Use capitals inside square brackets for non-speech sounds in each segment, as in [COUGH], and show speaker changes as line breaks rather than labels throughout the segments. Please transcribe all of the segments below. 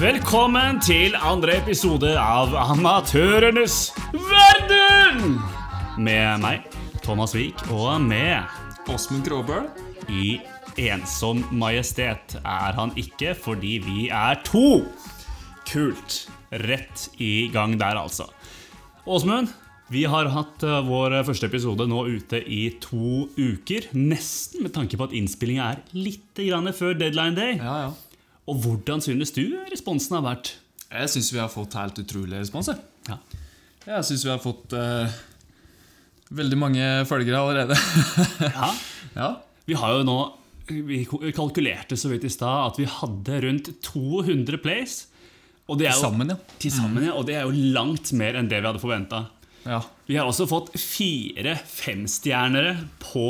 Velkommen til andre episode av Amatørenes verden! Med meg, Thomas Vik, og med
Åsmund Gråbøl.
I ensom majestet er han ikke, fordi vi er to! Kult. Rett i gang der, altså. Åsmund, vi har hatt eh, vår første episode nå ute i to uker. Nesten med tanke på at innspillinga er litt grann før deadline day.
Ja, ja.
Og hvordan synes du responsen har vært?
Jeg syns vi har fått helt utrolig respons. jeg.
Ja.
Jeg syns vi har fått eh, veldig mange følgere allerede.
ja.
[LAUGHS] ja.
Vi har jo nå Vi kalkulerte så vidt i stad at vi hadde rundt 200 plays. Og det er jo,
Sammen, ja.
til sammen, ja.
Mm.
Og det er jo langt mer enn det vi hadde forventa.
ja.
Vi har også fått fire femstjernere på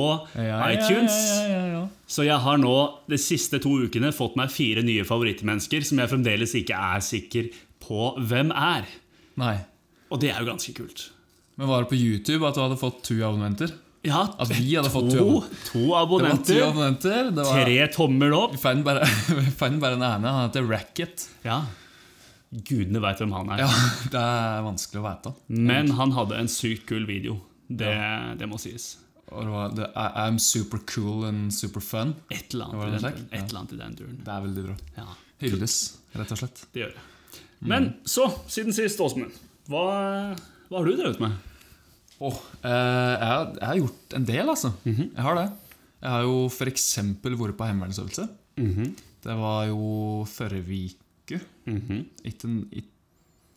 Ja,
iTunes.
Ja, ja, ja, ja.
Så jeg har nå de siste to ukene fått meg fire nye favorittmennesker som jeg fremdeles ikke er sikker på hvem er.
Nei.
Og det er jo ganske kult.
Men var det på YouTube at du hadde fått to abonnenter?
Ja,
At vi hadde fått
to,
to
to
Det var ti
abonnenter.
abonnenter. Det var,
Tre tommel opp.
vi fant bare, [LAUGHS] vi fant bare den ene. Han heter Racket.
Ja. Gudene veit hvem han er.
Ja, [LAUGHS] det er vanskelig å vite.
Men han hadde en sykt kul video. Det, det må sies.
Og det var det, er- I'm super cool and super fun.
Et eller
Var det
annet, i
slik?
den, et eller annet i den duren.
Det er veldig bra.
Ja,
Hylles, rett og slett.
det gjør det. Men så, siden sist, Åsmund. Hva, hva har du drevet med?
Åh, eh, jeg, har- jeg har gjort en del, altså. Jeg har det. Jeg har jo f.eks. vært på heimevernsøvelse.
Mhm.
Det var jo forrige uke.
Mhm.
Ikke en- ikk-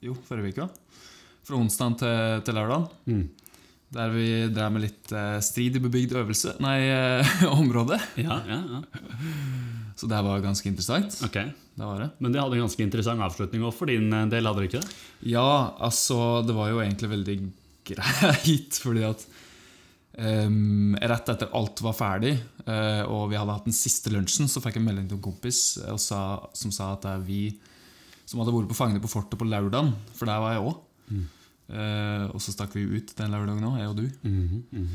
Jo, forrige uke. da. Fra onsdag til, til lørdag.
Mhm.
Der vi drev med litt eh, strid i bebygd øvelse Nei, eh, [LAUGHS] område.
Ja, ja, ja.
Så det her var ganske interessant.
Ok.
Det var det.
Men det hadde en ganske interessant avslutning òg, for din eh, del hadde det ikke det?
Ja, altså Det var jo egentlig veldig greit, [LAUGHS] fordi at ehm, Rett etter alt var ferdig, eh, og vi hadde hatt den siste lunsjen, så fikk jeg en melding til en kompis eh, og sa, som sa at det er vi som hadde vært på Fangene på fortet på lørdagen, for der var jeg òg. og så stakk vi ut den lørdagen òg, jeg og du.
Mhm.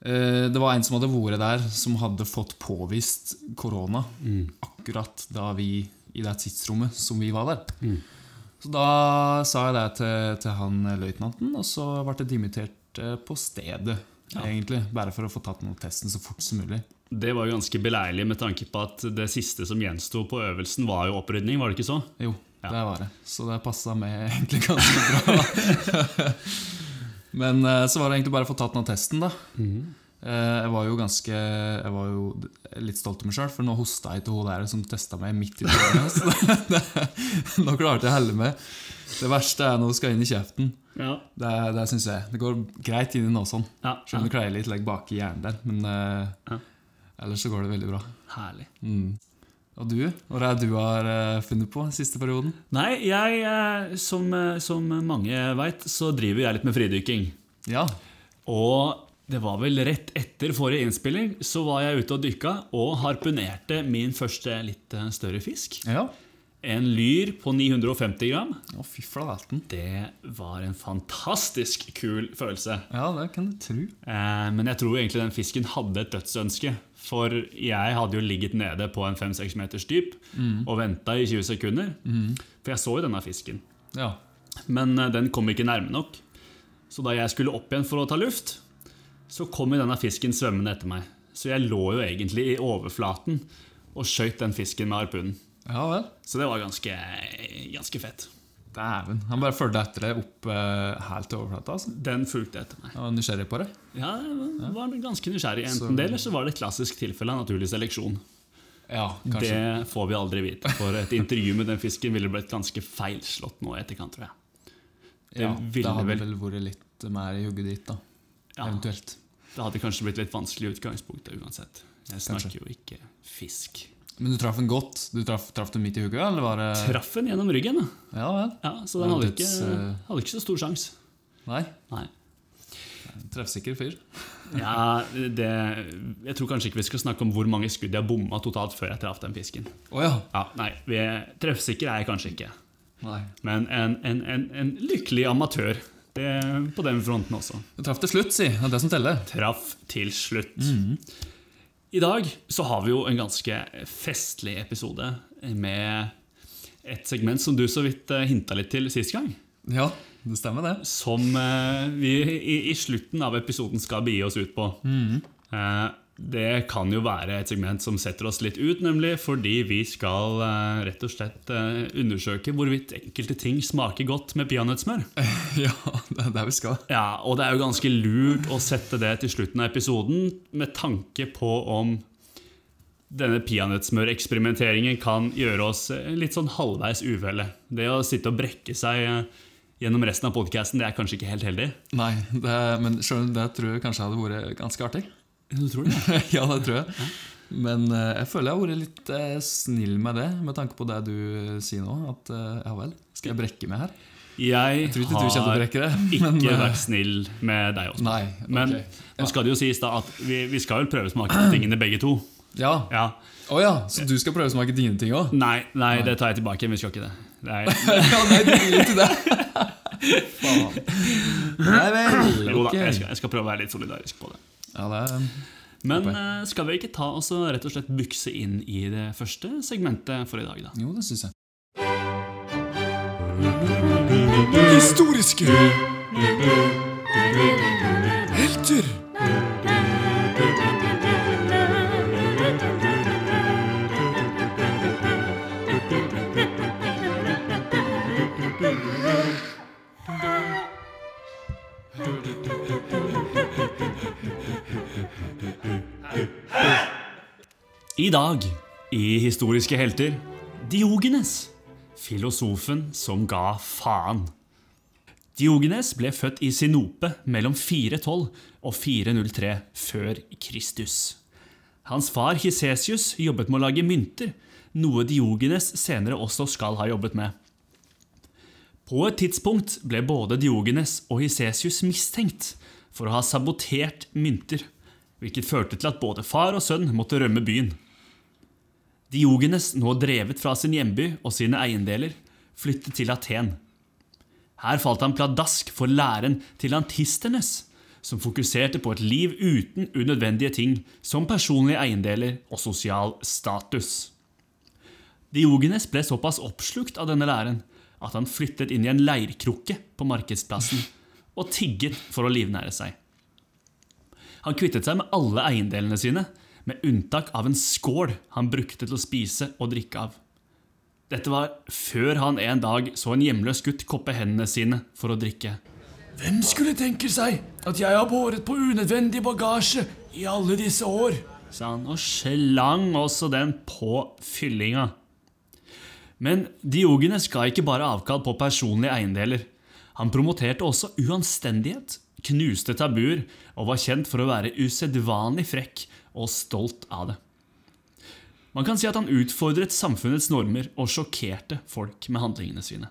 Eh, det var en som hadde vært der, som hadde fått påvist korona
Mm.
akkurat da vi i det tidsrommet som vi var der.
Mm.
Så da sa jeg det til, til han eh, løytnanten, og så ble jeg dimittert eh, på stedet. Egentlig, Bare for å få tatt den testen så fort som mulig.
Det var jo ganske beleilig med tanke på at det siste som gjensto på øvelsen, var jo opprydning, var det ikke så?
Jo,
Ja.
det var det. Så det passa meg egentlig ganske bra. [LAUGHS] Men eh, så var det egentlig bare å få tatt den testen, da. Eh, Jeg var jo ganske Jeg var jo litt stolt av meg sjøl, for nå hosta jeg til hun der som testa meg midt i trynet. Så [LAUGHS] det- det- Nå klarte jeg å helle meg. Det verste er når hun skal inn i kjeften.
Ja.
Det, det syns jeg. Det går greit inn i nåsen.
ja,
Selv om det kleier litt like, bak i hjernen der, men eh,
Ja.
ellers så går det veldig bra.
Herlig.
Og du? Hva er det du har eh, funnet på siste perioden?
Nei, jeg, eh, som, eh, som mange veit, så driver jeg litt med fridykking.
Ja.
Og det var vel rett etter forrige innspilling, så var jeg ute og dykka og harpunerte min første litt eh, større fisk.
Ja.
En lyr på 950 gram.
Å, fy flalaten.
Det var en fantastisk kul følelse.
Ja, det kan du tro.
Eh, Men jeg tror egentlig den fisken hadde et dødsønske. For jeg hadde jo ligget nede på en 5-6 meters dyp og venta i 20 sekunder. For jeg så jo denne fisken.
Ja.
Men eh, den kom ikke nærme nok. Så da jeg skulle opp igjen for å ta luft, så kom jo denne fisken svømmende etter meg. Så jeg lå jo egentlig i overflaten og skøyt den fisken med harpunen.
Ja vel.
Så det var ganske, ganske fett.
Dæven. Han bare fulgte etter deg opp eh, helt til overflata. altså.
Den fulgte etter meg.
Jeg var nysgjerrig på det.
Ja, jeg var ganske nysgjerrig.
Så-
Enten det, eller så var det et klassisk tilfelle av naturlig seleksjon.
Ja, kanskje.
Det får vi aldri vite, for et intervju med den fisken ville blitt ganske feilslått nå i etterkant, tror jeg. Det
ja, det
ville
hadde
vel
vel vært litt mer i hugget ditt, da.
ja,
Eventuelt.
Det hadde kanskje blitt litt vanskelig i utgangspunktet uansett. Jeg snakker jo ikke fisk.
Men du traff den godt? Du traff, traff den midt i hugget, eller var det
Traff den gjennom ryggen, da.
Ja vel.
Eh. Ja, eh. så den
Ja,
hadde
det-
ikke, hadde ikke så stor sjanse.
Nei.
Nei.
Treffsikker fyr.
Ja, det, jeg tror kanskje ikke vi skal snakke om hvor mange skudd jeg bomma totalt før jeg traff den fisken.
Å ja.
Ja, nei, vi, Treffsikker er jeg kanskje ikke,
Nei.
men en, en, en, en lykkelig amatør det, på den fronten også.
Du traff til slutt, si. Det er det som teller.
Traff til slutt. I dag så har vi jo en ganske festlig episode med et segment som du så vidt hinta litt til sist gang.
Ja, det stemmer, det.
som eh, vi i, i slutten av episoden skal begi oss ut på. Eh, det kan jo være et segment som setter oss litt ut, nemlig fordi vi skal eh, rett og slett eh, undersøke hvorvidt enkelte ting smaker godt med peanøttsmør.
[LAUGHS] Ja, det er der vi skal.
Ja, og det er jo ganske lurt å sette det til slutten av episoden med tanke på om denne peanøttsmøreksperimenteringen kan gjøre oss eh, litt sånn halvveis uvelle. Det å sitte og brekke seg eh, gjennom resten av podkasten, det er kanskje ikke helt heldig.
Nei, det, men selv om det tror jeg kanskje hadde vært ganske artig. [LAUGHS]
Du tror det?
ja, det tror jeg. Men eh, jeg føler jeg har vært litt eh, snill med det, med tanke på det du eh, sier nå. At eh, ja vel, skal jeg brekke meg her?
Jeg,
Jeg tror ikke du kommer til å
har
brekke det. [LAUGHS] men,
ikke
eh,
vært snill med deg også.
Nei.
Men
ok.
nå skal det jo sies da at vi, vi skal vel prøve å smake på tingene begge to.
Ja.
Ja.
Å ja, så du skal prøve å smake dine ting òg?
Nei, nei, det tar jeg tilbake. Vi skal ikke det. det er,
[LAUGHS] ja, nei, du vil ikke det. [LAUGHS] Faen. Nei vel.
jo da,
ok.
jeg skal, jeg skal prøve å være litt solidarisk på det.
Ja, det er,
Men
Håper
eh, skal vi ikke ta oss og rett og slett bykse inn i det første segmentet for i dag, da?
jo, det syns jeg. Det historiske helter.
I dag, i Historiske helter, Diogenes. Filosofen som ga faen. Diogenes ble født i Sinope mellom 412 og 403 før Kristus. Hans far Hisesius jobbet med å lage mynter, noe Diogenes senere også skal ha jobbet med. På et tidspunkt ble både Diogenes og Hisesius mistenkt for å ha sabotert mynter, hvilket førte til at både far og sønn måtte rømme byen. Diogenes, nå drevet fra sin hjemby og sine eiendeler, flyttet til Aten. Her falt han pladask for læren til antisternes, som fokuserte på et liv uten unødvendige ting, som personlige eiendeler og sosial status. Diogenes ble såpass oppslukt av denne læren at han flyttet inn i en leirkrukke på markedsplassen og tigget for å livnære seg. Han kvittet seg med alle eiendelene sine, med unntak av en skål han brukte til å spise og drikke av. Dette var før han en dag så en hjemløs gutt koppe hendene sine for å drikke. Hvem skulle tenke seg at jeg har båret på unødvendig bagasje i alle disse år? sa han og slang også den på fyllinga. Men Diogenes ga ikke bare avkall på personlige eiendeler. Han promoterte også uanstendighet, knuste tabuer og var kjent for å være usedvanlig frekk og stolt av det. Man kan si at han utfordret samfunnets normer og sjokkerte folk med handlingene sine.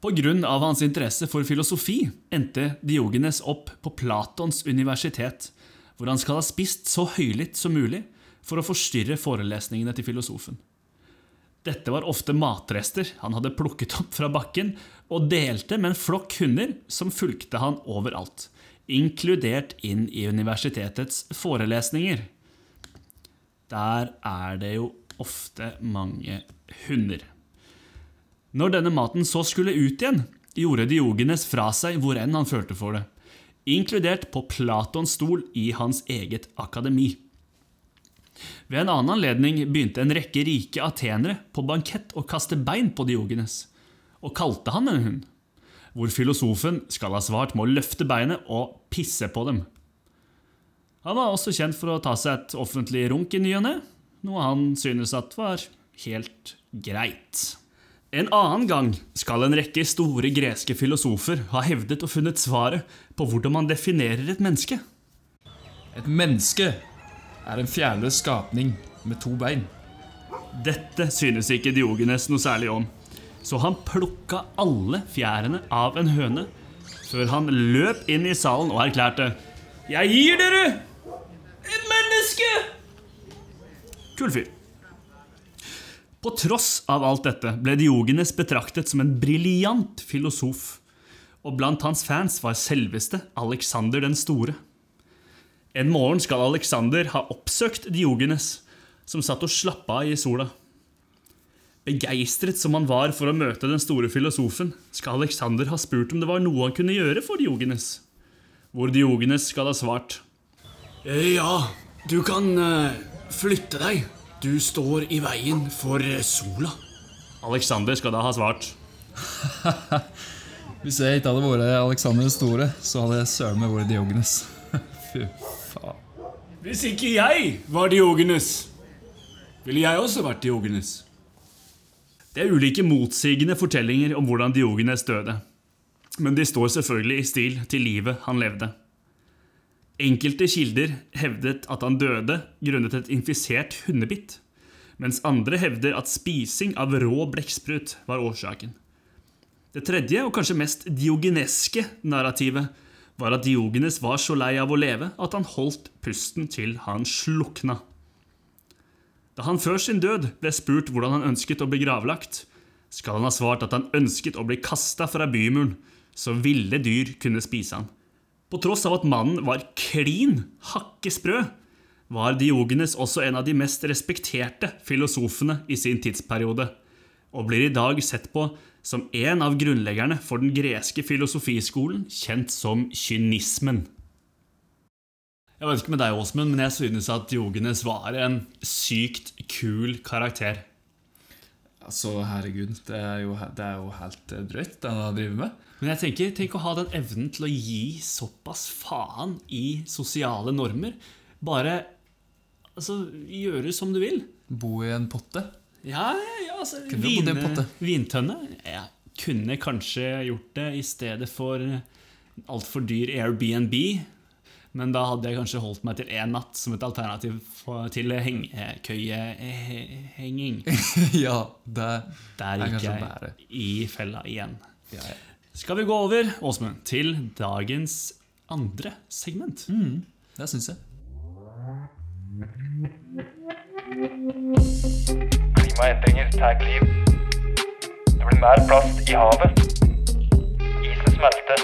På grunn av hans interesse for filosofi endte Diogenes opp på Platons universitet, hvor han skal ha spist så høylytt som mulig for å forstyrre forelesningene til filosofen. Dette var ofte matrester han hadde plukket opp fra bakken, og delte med en flokk hunder som fulgte han overalt, inkludert inn i universitetets forelesninger. Der er det jo ofte mange hunder. Når denne maten så skulle ut igjen, gjorde Diogenes fra seg hvor enn han følte for det, inkludert på Platons stol i hans eget akademi. Ved en annen anledning begynte en rekke rike atenere på bankett å kaste bein på Diogenes, og kalte han en hund, hvor filosofen skal ha svart med å løfte beinet og pisse på dem. Han var også kjent for å ta seg et offentlig runk i ny og ne, noe han synes at var helt greit. En annen gang skal en rekke store greske filosofer ha hevdet og funnet svaret på hvordan man definerer et menneske.
Et menneske er en fjærløs skapning med to bein.
Dette synes ikke Diogenes noe særlig om, så han plukka alle fjærene av en høne, før han løp inn i salen og erklærte Jeg gir dere et menneske! Kul fyr. På tross av alt dette ble Diogenes betraktet som en briljant filosof, og blant hans fans var selveste Alexander den store. En morgen skal Alexander ha oppsøkt Diogenes, som satt og slappa av i sola. Begeistret som han var for å møte den store filosofen, skal Alexander ha spurt om det var noe han kunne gjøre for Diogenes. Hvor Diogenes skal ha svart.
Eh, Ja, du kan eh, flytte deg. Du står i veien for eh, sola.
Alexander skal da ha svart.
Hvis jeg ikke hadde vært Alexander den store, så hadde jeg søren meg vært Diogenes. [LAUGHS] Fy faen.
Hvis ikke jeg var Diogenes, ville jeg også vært Diogenes.
Det er ulike motsigende fortellinger om hvordan Diogenes døde. Men de står selvfølgelig i stil til livet han levde. Enkelte kilder hevdet at han døde grunnet et infisert hundebitt, mens andre hevder at spising av rå blekksprut var årsaken. Det tredje og kanskje mest diogeneske narrativet var at Diogenes var så lei av å leve at han holdt pusten til han slukna. Da han før sin død ble spurt hvordan han ønsket å bli gravlagt, skal han ha svart at han ønsket å bli kasta fra bymuren, så ville dyr kunne spise han. På tross av at mannen var klin hakke sprø, var Diogenes også en av de mest respekterte filosofene i sin tidsperiode, og blir i dag sett på som en av grunnleggerne for den greske filosofiskolen kjent som kynismen. Jeg vet ikke med deg, Åsmund, men jeg synes at Diogenes var en sykt kul karakter.
Altså, herregud, det er jo, det er jo helt eh, drøyt, det han driver med.
Men jeg tenker, tenk å ha den evnen til å gi såpass faen i sosiale normer. Bare altså, gjøre som du vil.
Bo i en potte.
Ja, ja, ja altså,
Kunne jo bodd i en
vine-
potte.
Vintønne. Jeg kunne kanskje gjort det i stedet for altfor dyr Airbnb. Men da hadde jeg kanskje holdt meg til én natt som et alternativ for, til
[LAUGHS]
hengekøyehenging.
[LAUGHS] ja, det
Der
er
gikk
kanskje
jeg
bare.
i fella igjen.
Ja, ja.
Skal vi gå over, Åsmund, til dagens andre segment?
Det syns jeg.
Klimaendringer tar liv. Det blir mer plast i havet. Isen smelter.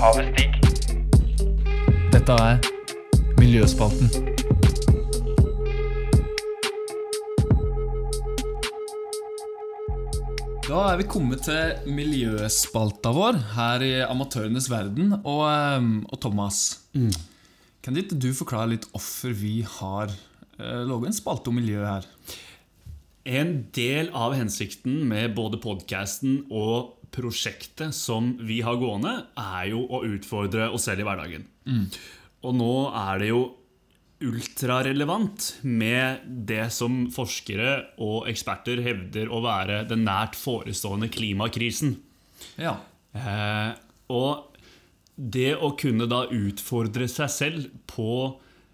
Havet stiger.
Dette er Miljøspalten. Da er vi kommet til miljøspalta vår her i Amatørenes verden og, ehm, og Thomas. Kan ikke du forklare litt hvorfor vi har uh, laget en spalte om miljø her?
En del av hensikten med både podkasten og prosjektet som vi har gående, er jo å utfordre oss selv i hverdagen. Og nå er det jo ultrarelevant med det som forskere og eksperter hevder å være den nært forestående klimakrisen.
Ja.
Eh, og det å kunne da utfordre seg selv på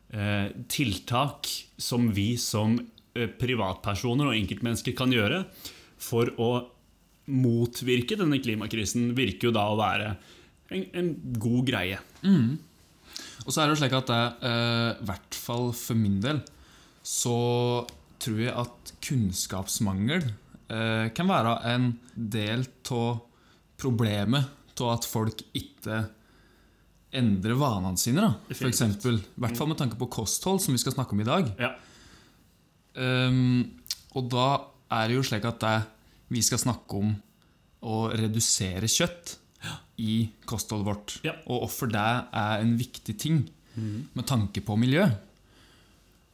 eh, tiltak som vi som eh, privatpersoner og enkeltmennesker kan gjøre for å motvirke denne klimakrisen, virker jo da å være en, en god greie.
Og så er det jo slik at det, eh, i hvert fall for min del, så tror jeg at kunnskapsmangel eh, kan være en del av problemet av at folk ikke endrer vanene sine, da. For
Definitivt.
eksempel. I hvert fall med tanke på kosthold, som vi skal snakke om i dag.
Ja.
Ehm, og da er det jo slik at det, vi skal snakke om å redusere kjøtt i kostholdet vårt.
Ja. Mhm.
Og hvorfor det er en viktig ting med tanke på miljø.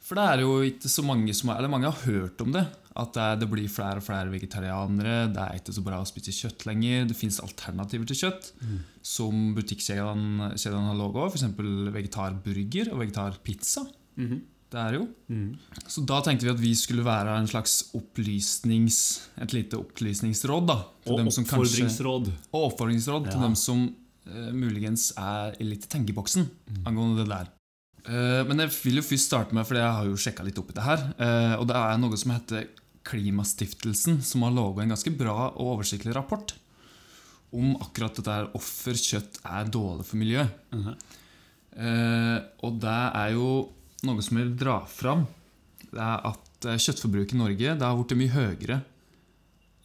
For det er jo ikke så mange som har, eller mange har hørt om det. At det, det blir flere og flere vegetarianere, det er ikke så bra å spise kjøtt lenger. Det fins alternativer til kjøtt,
Mhm.
som butikkjedene kjedene har laga. F.eks. vegetarburger og vegetarpizza.
Mhm.
Det er det jo. Så da tenkte vi at vi skulle være en slags opplysnings, et lite opplysningsråd. da. til
Og
dem som kanskje-
oppfordringsråd.
og oppfordringsråd til
Ja.
dem som eh, muligens er litt i tenkeboksen angående det der. Eh, men jeg vil jo først starte med, for jeg har jo sjekka litt opp i det her, eh, og det er noe som heter Klimastiftelsen, som har laga en ganske bra og oversiktlig rapport om akkurat dette her hvorfor kjøtt er dårlig for miljøet. Eh, og det er jo noe som jeg vil dra fram. Det er at eh, kjøttforbruket i Norge det har blitt mye høyere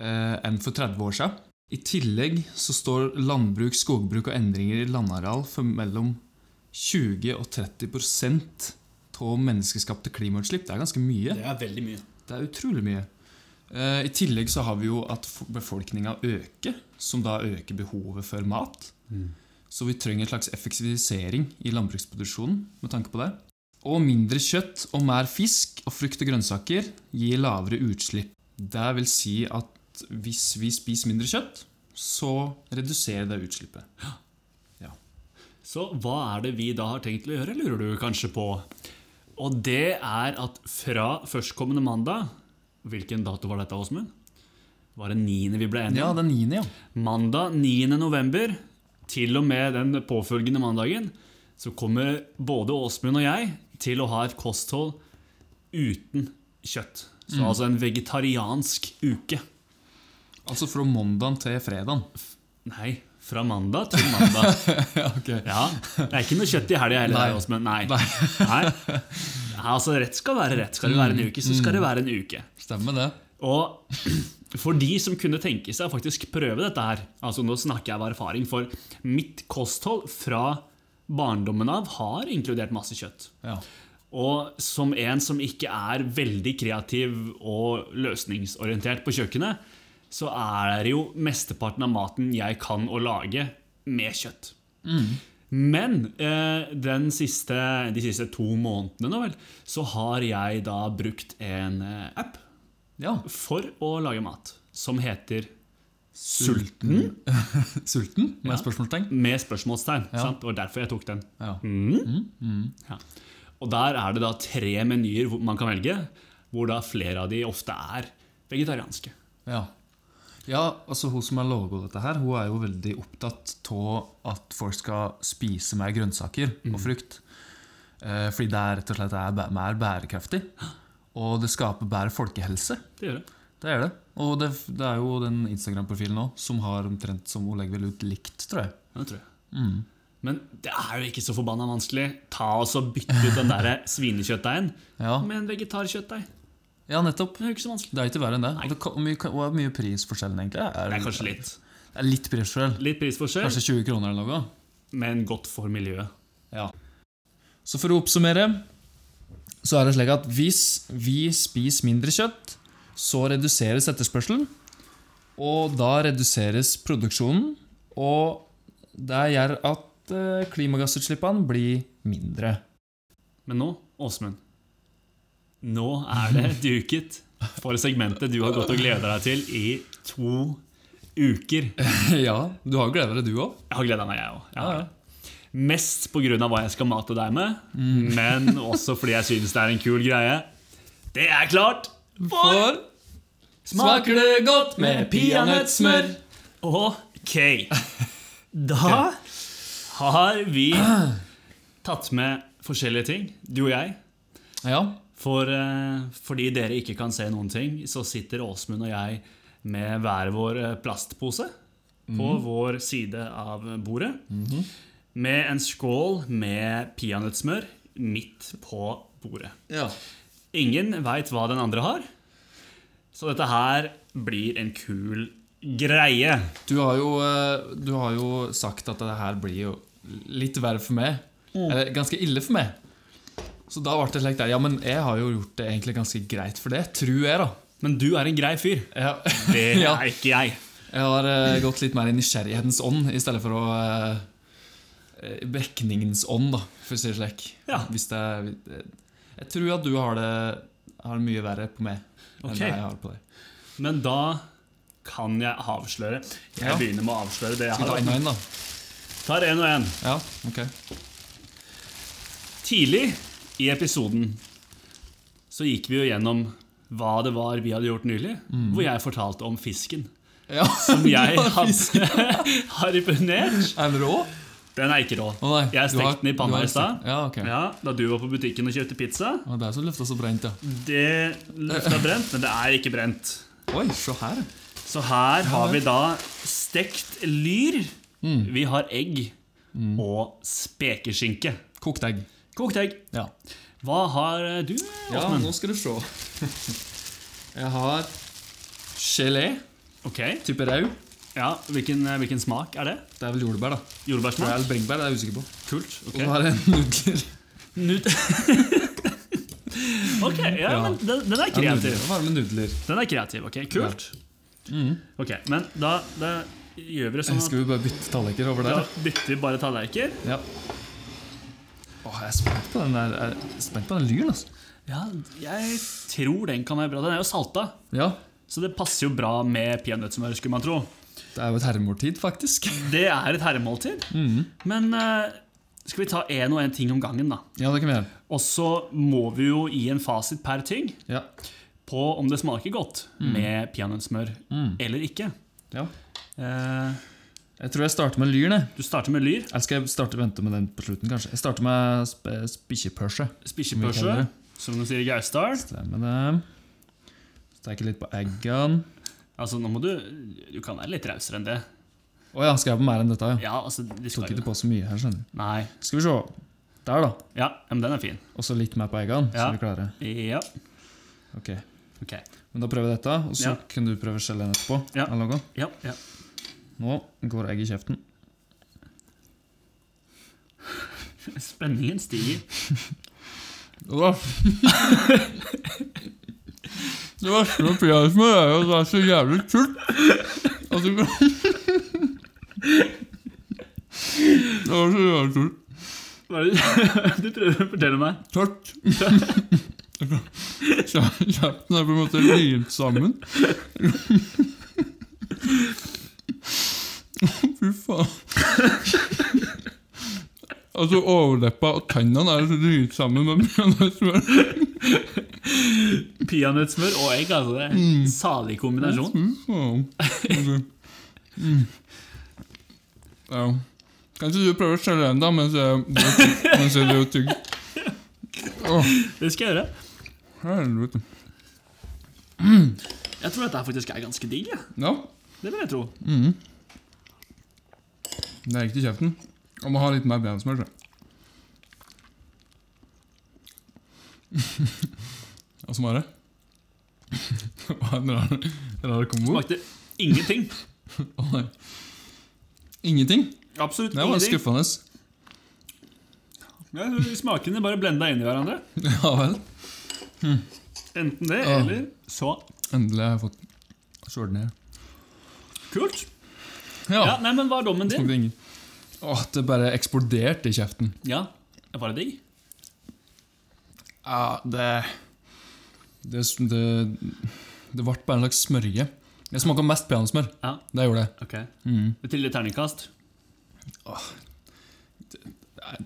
eh, enn for 30 år siden. I tillegg så står landbruk, skogbruk og endringer i landareal for mellom 20 og 30 av menneskeskapte klimautslipp. Det er ganske mye.
Det er veldig mye.
Det er utrolig mye. Eh, I tillegg så har vi jo at befolkninga øker, som da øker behovet for mat.
Mm.
Så vi trenger en slags effektivisering i landbruksproduksjonen med tanke på det. Og mindre kjøtt og mer fisk og frukt og grønnsaker gir lavere utslipp. Det vil si at hvis vi spiser mindre kjøtt, så reduserer det utslippet.
Så hva er det vi da har tenkt til å gjøre, lurer du kanskje på? Og det er at fra førstkommende mandag Hvilken dato var dette, Åsmund? Var det 9. vi ble enige
Ja,
om?
den niende, ja.
Mandag 9. november, til og med den påfølgende mandagen, så kommer både Åsmund og jeg til å ha et kosthold uten kjøtt. Så altså en vegetariansk uke.
Altså fra mandagen til fredagen.
Nei, fra mandag til mandag.
[LAUGHS] ok.
ja, Det er ikke noe kjøtt i helga heller,
Nei.
nei. Åsmund. Nei. Nei. Altså, rett skal være rett. Skal det være
Mm.
en uke, så skal det være en uke.
Stemmer det.
Og [CLEARS THROAT] for de som kunne tenke seg å faktisk prøve dette her, altså nå snakker jeg av erfaring, for mitt kosthold fra barndommen av har inkludert masse kjøtt.
Ja.
Og som en som ikke er veldig kreativ og løsningsorientert på kjøkkenet, så er det jo mesteparten av maten jeg kan å lage med kjøtt. Men eh, den siste, de siste to månedene nå vel, så har jeg da brukt en eh, app
ja.
for å lage mat som heter
Sulten? [LAUGHS] Sulten? Med spørsmålstegn?
med spørsmålstegn. Sant? Det var derfor jeg tok den.
Ja.
Ja. Og der er det da tre menyer hvor man kan velge, hvor da flere av de ofte er vegetarianske.
Ja. ja, altså hun som har laget dette her, hun er jo veldig opptatt av at folk skal spise mer grønnsaker og frukt. Eh, fordi det er rett og slett er bæ- mer bærekraftig. Og det skaper bedre folkehelse.
Det gjør det.
Det er det. Og det, det er jo den Instagram-profilen nå som har omtrent som hun legger vel ut likt, tror jeg.
Det tror jeg. Men det er jo ikke så forbanna vanskelig. Ta og så Bytte ut den der svinekjøttdeigen
Ja,
med en vegetarkjøttdeig.
ja nettopp.
Det er jo ikke så vanskelig.
Det er ikke verre enn det. Og det kan- hvor mye, hvor mye prisforskjellen egentlig er.
Det er kanskje litt.
Det er litt prisforskjell.
Litt prisforskjell,
Kanskje 20 kroner eller noe.
men godt for miljøet.
Så for å oppsummere så er det slik at hvis vi spiser mindre kjøtt, så reduseres etterspørselen, og da reduseres produksjonen, og det gjør at eh, klimagassutslippene blir mindre.
Men nå, Åsmund Nå er det duket for segmentet du har gått og gleda deg til i to uker. Jeg
ja, du har gleda deg du òg.
har gleda meg, jeg òg. Jeg har
Ja,
det. Mest pga. hva jeg skal mate deg med, men også fordi jeg syns det er en kul greie. Det er klart for
For smaker det godt med peanøttsmør?
Ok. Da har vi tatt med forskjellige ting, du og jeg.
Ja.
For, eh, fordi dere ikke kan se noen ting, så sitter Åsmund og jeg med hver vår eh, plastpose på vår side av bordet. Med en skål med peanøttsmør midt på bordet.
ja.
Ingen veit hva den andre har, så dette her blir en kul greie.
Du har jo, eh, du har jo sagt at det her blir jo litt verre for meg. Eller ganske ille for meg. Så da ble det slik der. Ja, men jeg har jo gjort det egentlig ganske greit for det. Tror jeg, da.
Men du er en grei fyr.
Jeg, [LAUGHS]
Det
Ja.
er ikke jeg.
jeg har eh, gått litt mer i nysgjerrighetens ånd i stedet for å eh, eh, Brekningens ånd, da, for å si det slik.
Ja.
Hvis det er eh, Jeg tror at du har det, har det mye verre på meg enn
Ok.
det jeg har på deg.
Men da kan jeg avsløre. Jeg
Ja.
begynner med å avsløre det jeg
Skal vi ta
har.
en og en, da?
Tar en og en.
Ja, ok.
Tidlig i episoden så gikk vi jo gjennom hva det var vi hadde gjort nylig, hvor jeg fortalte om fisken.
Ja.
Som jeg
Mm. [LAUGHS] Du har fisk.
[LAUGHS] hadde harpunert.
[LAUGHS] Er den rå?
Den er ikke rå.
Å nei,
jeg
du har-
stekte den i
du
panna
har
i stad.
stekt- Ja, ok.
Ja, da du var på butikken og kjøpte pizza.
Og det er så lufta så brent, ja.
Det lukta brent, men det er ikke brent.
Oi, se her.
Så her har vi da
Mm.
stekt lyr. Vi har egg og spekeskinke.
Kokt egg.
Kokt egg.
Ja.
Hva har eh, du,
ja,
Åsmund?
nå skal du se. [LAUGHS] Jeg har gelé,
Ok,
type rau.
ja, hvilken, eh, hvilken smak er det?
Det er vel jordbær, da.
Jordbærsmak?
Eller bringebær, det er jeg usikker på.
Kult.
Og så
Ok,
har jeg [LAUGHS] nudler.
Nut [LAUGHS] Ok, ja,
Ja.
men den, den er
Ja, nudler.
kreativ.
Varme nudler.
Den er kreativ, ok, kult. Ok, men da, da gjør vi det sånn at
Skal vi bare bytte tallerkener over
da
der?
bytter vi bare tallerkener.
Ja. Åh, jeg er spent på den der Jeg er spent på den lyren, altså.
Ja, jeg tror den kan være bra. Den er jo salta,
Ja.
så det passer jo bra med peanøttsmør, skulle man tro.
Det er jo et herremåltid, faktisk.
Det er et herremåltid. Men eh, skal vi ta én og én ting om gangen, da?
Ja, det kan vi gjøre.
Og så må vi jo gi en fasit per ting
Ja.
på om det smaker godt med peanøttsmør eller ikke.
ja.
Eh,
Jeg tror jeg starter med lyren, jeg.
du starter med lyr,
Eller skal jeg starte vente med den på slutten, kanskje? Jeg starter med sp spikkjepølse. Som vi
spikkepølse,
kaller det.
som de sier i Gausdal.
Stemmer det. Steker litt på eggene.
Altså, nå må du Du kan være litt rausere enn det.
Å ja, skal jeg på mer enn dette? Ja.
Ja, altså de
Tok
skal
ikke
jo
på så mye her, skjønner du.
Nei.
Skal vi se. Der, da.
Ja, ja, men den er fin.
Og så litt mer på eggene, så
Ja.
er vi klare.
Ja.
Ok.
Ok.
Men da prøver jeg dette, og så
Ja.
kan du prøve geleen etterpå.
Ja.
Eller noe.
Ja, ja. [LAUGHS]
Nå går egg i kjeften.
Spenningen stiger.
Åh. [LAUGHS] det verste med peanøttsmør er jo at det er så jævlig Altså, tult. [LAUGHS] At du kan Det er så jævlig tult.
Hva er det du [LAUGHS] prøver å fortelle meg?
[LAUGHS] Tørt. Kjeften er på en måte limt sammen. [LAUGHS] Fy faen. Altså, overleppa og tennene er så limt sammen med peanøttsmør.
Peanøttsmør og egg, altså. Det er
Mm.
en salig kombinasjon.
Faen. Ok. Mm. Ja. Kanskje du prøver å skjelle den, da, mens jeg mens jeg driver og tygger.
Det skal jeg gjøre.
Helvete.
Jeg tror dette her faktisk er ganske digg. jeg.
Ja,
Det vil jeg tro.
det er riktig kjeften. Jeg må ha litt mer brensmør, tror jeg. [LAUGHS] Og så var det. Det var en rar, rar kombo.
Smakte ingenting.
Å, nei. Ingenting.
Absolutt
Det var
ingenting.
skuffende.
Ja, smakene bare blenda inn i hverandre.
Ja vel.
Enten det,
Ja.
eller så.
Endelig har jeg fått skjørt ned.
Kult.
Ja.
Ja, nei, men Hva er dommen din?
Smakte ingen. Åh, det bare eksploderte i kjeften.
Ja, Var det digg?
Ja, det Det, det, det ble bare en slags smørje. Jeg smaka mest peanøttsmør.
Ja,
Det gjorde jeg.
ok.
Mm.
Til det terningkast?
Nei,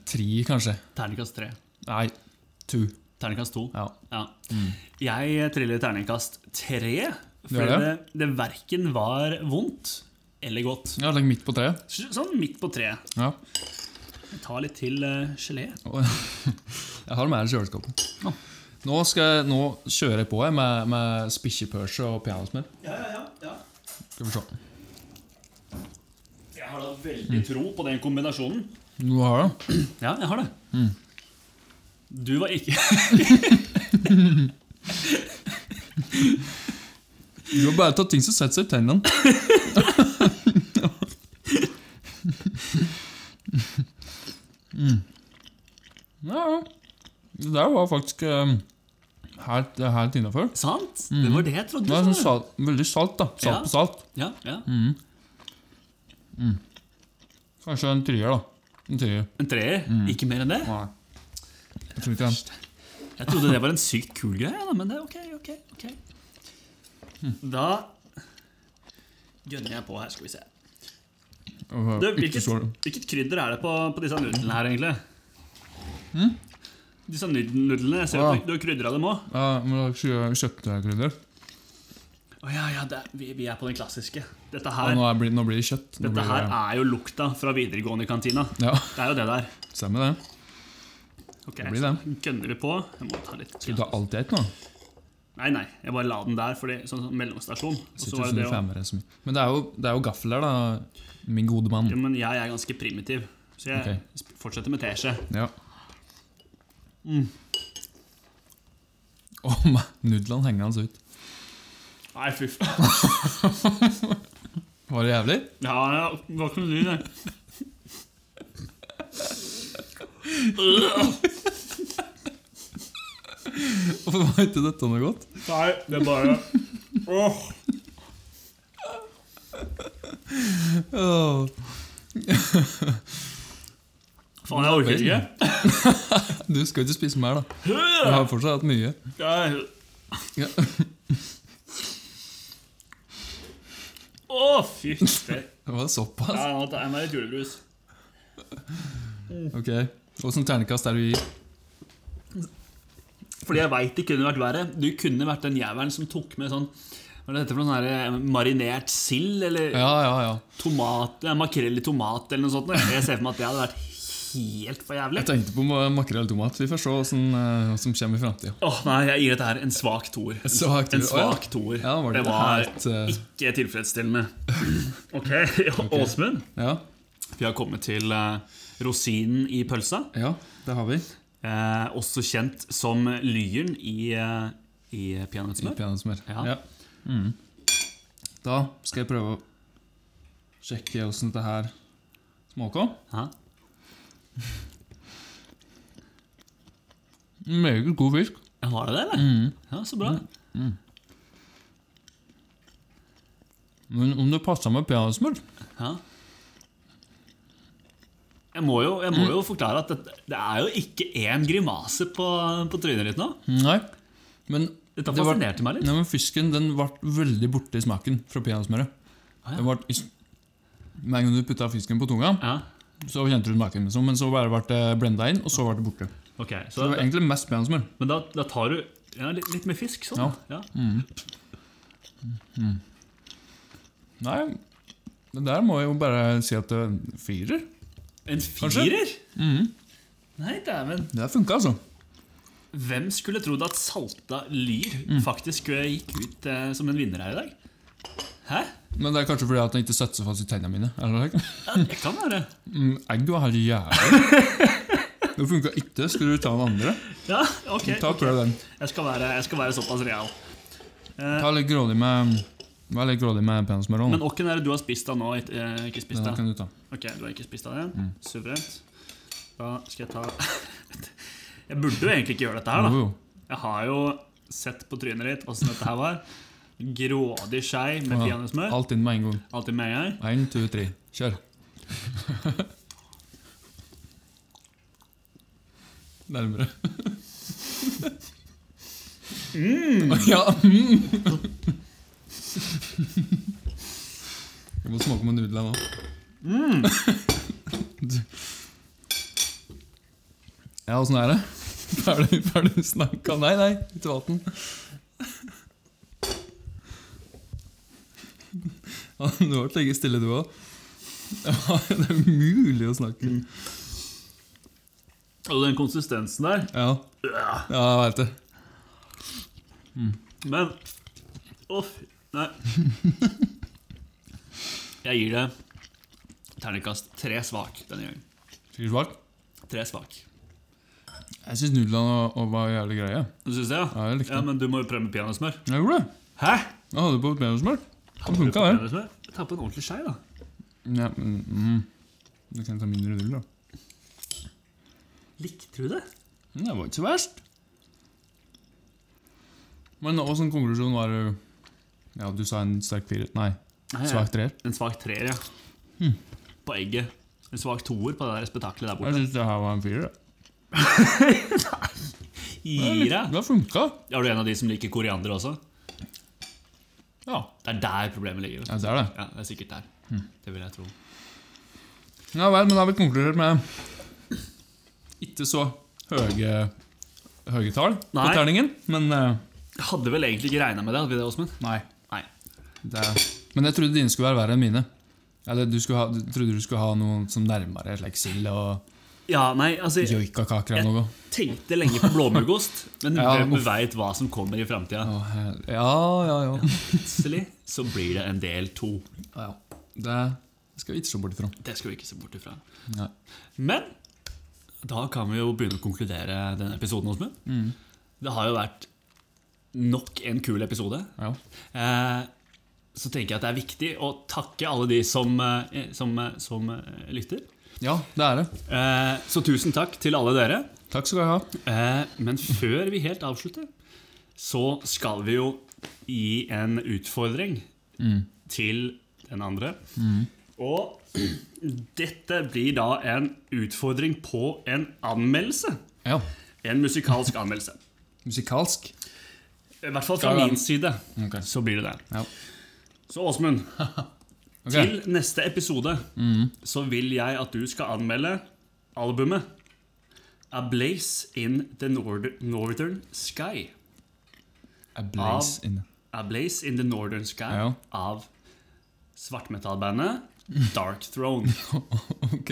Tre, kanskje.
Terningkast tre.
Nei, to.
Terningkast to.
Ja. Mm.
Jeg triller terningkast tre,
Gjør
fordi det, det verken var vondt eller godt.
Ja, Legg midt på treet.
Sånn midt på treet.
Ja.
Ta litt til eh, gelé.
Og- Jeg har mer i kjøleskapet. Nå, skal, jeg- nå kjører jeg på jeg med, med spikkjepølse og peanøttsmør.
Ja, ja, ja,
Skal vi se.
Jeg har da veldig tro på den kombinasjonen.
Du har det?
Mm. Ja, jeg har det.
Mm.
Du var ikke [LAUGHS]
Du har bare tatt ting som setter seg i tennene. mm. [LAUGHS] Ja, det der var faktisk eh, helt, det er helt innafor.
Sant? Det var det jeg trodde.
Mm. Det er sånn
sa
salt, veldig salt, da. Salt
Ja.
på salt.
du. Ja, ja.
Mm. Kanskje en trier, da. En trier.
En treer.
Mm.
Ikke mer enn det.
Nei. Jeg tror ikke den.
Jeg trodde det var en sykt kul greie, da, men det er ok. ok, ok.
Mm.
Da gønner jeg på her, skal vi se.
Åh,
Du,
eh, ikke
hvilket,
så-
hvilket krydder er det på, på disse nudlene her, egentlig?
Mm?
Disse nud- nudlene. Jeg ser
Ja.
at du, du har krydra dem òg.
Ja, men da skal jeg kjøttkrydder.
Å ja, ja, det er, vi, vi er på den klassiske. Dette
Ja,
her,
nå, er, bli- nå blir det kjøtt. Nå blir
dette
det,
her er jo lukta fra videregående-kantina.
Ja,
Det er jo det der.
stemmer det.
Ok,
blir det.
så Gønner du på? Jeg må ta litt
Skal du ta alt i ett nå?
Nei, nei. Jeg bare la den der, fordi, sånn sånn mellomstasjon. Og så
Sitter
var det det
sånn
å-
femmere som- Men det er, jo, det er jo gaffel der, da. Min gode mann.
Jo, men jeg er ganske primitiv, så jeg
Ok.
sp- fortsetter med teskje.
Ja.
Mm.
Og med nudlene hengende ut.
Nei, fy faen.
Var det jævlig?
Ja, ja, det var ikke noe lyd, det.
Hvorfor var ikke dette noe godt?
Nei, det er bare Åh.
Åh.
Faen, jeg orker ikke.
Du skal ikke spise mer, da. Du har fortsatt hatt mye.
Jeg...
Ja.
Å, fy faen.
Det var såpass.
Ja, nå tar jeg meg litt julebrus.
Ok. Åssen ternekast er det du gir?
Fordi jeg veit det kunne vært verre. Du kunne vært den jævelen som tok med sånn Hva er dette for noe sånn her, marinert sild? Eller
Ja, ja, ja.
tomat, eh, makrell i tomat, eller noe sånt? Jeg ser for meg at det hadde vært helt for jævlig.
Jeg tenkte på ma- makrell og tomat. Vi får se åssen, eh, hva som kommer i framtida.
Åh, nei, jeg gir dette her en svak toer. En
svak toer,
En svak toer.
Ja, var
det,
det
var
helt, eh,
ikke
[LAUGHS]
tilfredsstillende. Ok, Åsmund.
Ja,
Vi har kommet til eh, rosinen i pølsa.
ja, det har vi.
Eh, også kjent som lyren i, eh, i peanøttsmør.
Peanøttsmør.
Ja.
Ja. Mm. Da skal jeg prøve å sjekke åssen det her smaker.
Ja.
Meget god fisk.
Var det det, eller?
Mm.
Ja, så bra.
Men om det passer med peanøttsmør
Ja. Jeg må jo, jeg må jo forklare at det, det er jo ikke én grimase på, på trynet ditt nå.
Nei. Men,
Dette
Det var-
fascinerte meg litt.
nei, men fisken den ble veldig borte i smaken fra peanøttsmøret.
Ah, ja.
Det ble is- Med en gang du putta fisken på tunga,
Ja,
så kjente du smaken. liksom, Men så bare ble det blenda inn, og så ble det borte.
ok.
Det
Så,
var egentlig mest peanøttsmør.
men da, da tar du ja, litt, litt med fisk, sånn.
Ja.
Ja.
Nei, det der må jeg jo bare si at det firer.
En firer?
Mm-hmm.
Nei, dæven.
Det der funka, altså.
Hvem skulle trodd at salta lyr
Mm.
faktisk eh, gikk ut eh, som en vinner her i dag? Hæ?
Men det er kanskje fordi at den ikke setter seg fast i tennene mine. Eller noe.
Ja, det kan være.
Mm, Egg var helt
[LAUGHS]
jævlig. Det funka ikke. Skulle du ta den andre?
Ja, ok.
Ta og prøv den.
Jeg skal være, jeg skal være såpass real.
Ta litt grådig med Vær litt grådig med peanøttsmør.
Men åkken er det du har spist av nå? ikke- eh, Ikke spist
Den
av?
kan du ta.
Ok, du har ikke spist av det?
Mm.
Suverent. Da skal jeg ta [LAUGHS] Jeg burde jo egentlig ikke gjøre dette her,
Jo,
da.
jo.
Jeg har jo sett på trynet ditt åssen dette her var. Grådig skei med
Ja,
peanøttsmør.
Alt inn med en gang.
Alltid med her.
Én, to, tre. Kjør. [LAUGHS] Nærmere. [LAUGHS] Ja, mm. Jeg må smake på nudlene nå.
Mm.
Du. [LAUGHS] Ja, åssen er det? [LAUGHS] Ferdig, ferdig snakka? Nei, nei, ikke vann. Ja, [LAUGHS] Du har vært like stille, du òg. Ja, [LAUGHS] det er umulig å snakke.
Og den konsistensen der.
Ja, ja jeg veit det.
Men Å, fy
[LAUGHS]
Nei. Jeg gir det terningkast tre svak denne gangen.
Sikkert svak.
Tre svak.
Jeg syns nudlene og- og var jævlig greie.
Du syns det,
Ja, jeg likte
ja?
den.
Men du må jo prøve med peanøttsmør.
Jeg gjorde det.
Hæ?
Jeg hadde på peanøttsmør. Det funka, det.
Peanøttsmør? Ta på en ordentlig skei, da.
Ja, men, mm. Du kan ta mindre null, da.
Likte du det?
Men Det var ikke så verst. Men åssen konklusjon var det? Ja, du sa en sterk firer. Nei,
Nei, jeg-
svak treer.
En svak treer, ja. På egget. En svak toer på det der spetakkelet der
Jeg
borte.
syns det her var en firer. da.
Gir
Det
deg!
har funka.
Er du en av de som liker koriander også?
Ja.
Det er der problemet ligger. vet du.
ja, det er det.
Ja, det er sikkert der.
Mm.
Det vil jeg tro.
Ja vel, men da har vi konkludert med ikke så høye, høye tall på
Nei.
terningen, men eh,
Jeg hadde vel egentlig ikke regna med det, hadde vi det, Åsmund?
Nei.
Nei.
Det er... Men jeg trodde dine skulle være verre enn mine. Eller du, skulle ha, du trodde du skulle ha noe som nærmere like sild og
Ja, nei, altså Jeg
joikakaker eller noe.
tenkte lenge på blåmuggost, men
Ja,
hvem
uff.
veit hva som kommer i framtida?
Å, hel- Ja, ja, ja.
Plutselig så blir det en del to.
ja. Det skal vi ikke se bort ifra.
Det skal vi ikke se bort ifra.
Nei.
Men Da kan vi jo begynne å konkludere denne episoden. Åsmund.
Mm.
Det har jo vært nok en kul episode.
Ja.
Eh, så tenker jeg at det er viktig å takke alle de som, eh, som, eh, som eh, lytter.
ja, det er det.
Eh, så tusen takk til alle dere.
Takk skal du ha.
Eh, men før vi helt avslutter, så skal vi jo gi en utfordring
Mm.
til den andre. Og dette blir da en utfordring på en anmeldelse.
Ja.
En musikalsk anmeldelse.
Musikalsk.
I hvert fall fra
Ja, ja.
min side
Ok.
så blir det det.
Ja.
Så Åsmund, til neste episode så vil jeg at du skal anmelde albumet A Blaze in the Nord Northern Sky.
A blaze
[LAUGHS]
in
A Blaze in the Northern Sky
Ja.
av svartmetallbandet Dark Throne.
Ok.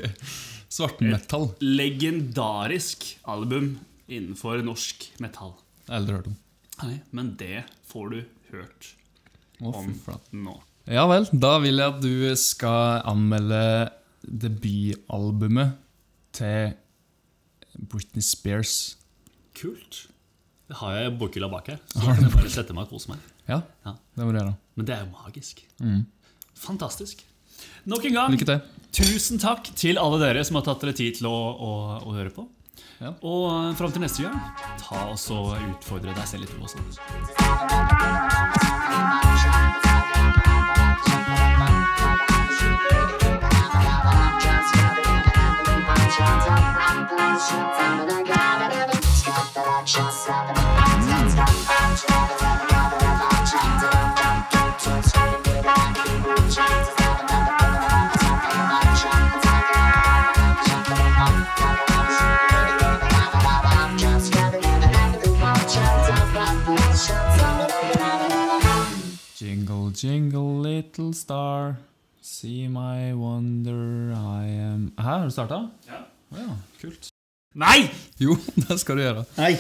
Svartmetall.
Legendarisk album innenfor norsk metall.
Jeg har aldri hørt om.
Nei, men det får du hørt
Å,
om
fy flate.
nå.
Ja vel, da vil jeg at du skal anmelde debutalbumet til Britney Spears.
Kult. Det har jeg i bokhylla bak her. Så kan jeg bare sette meg og kose meg.
Ja,
Ja.
det må du gjøre.
Men det er jo magisk. Fantastisk. Nok en gang,
Mm. Lykke til.
tusen takk til alle dere som har tatt dere tid til å, å, å høre på.
Ja.
Og fram til neste gang, ta og så utfordre deg selv litt. Også.
Jingle, jingle, little star. See my wonder I am Hæ, har du starta?
Ja.
Å ja, kult.
Nei!
[LAUGHS] Jo, det skal du gjøre.
Nei!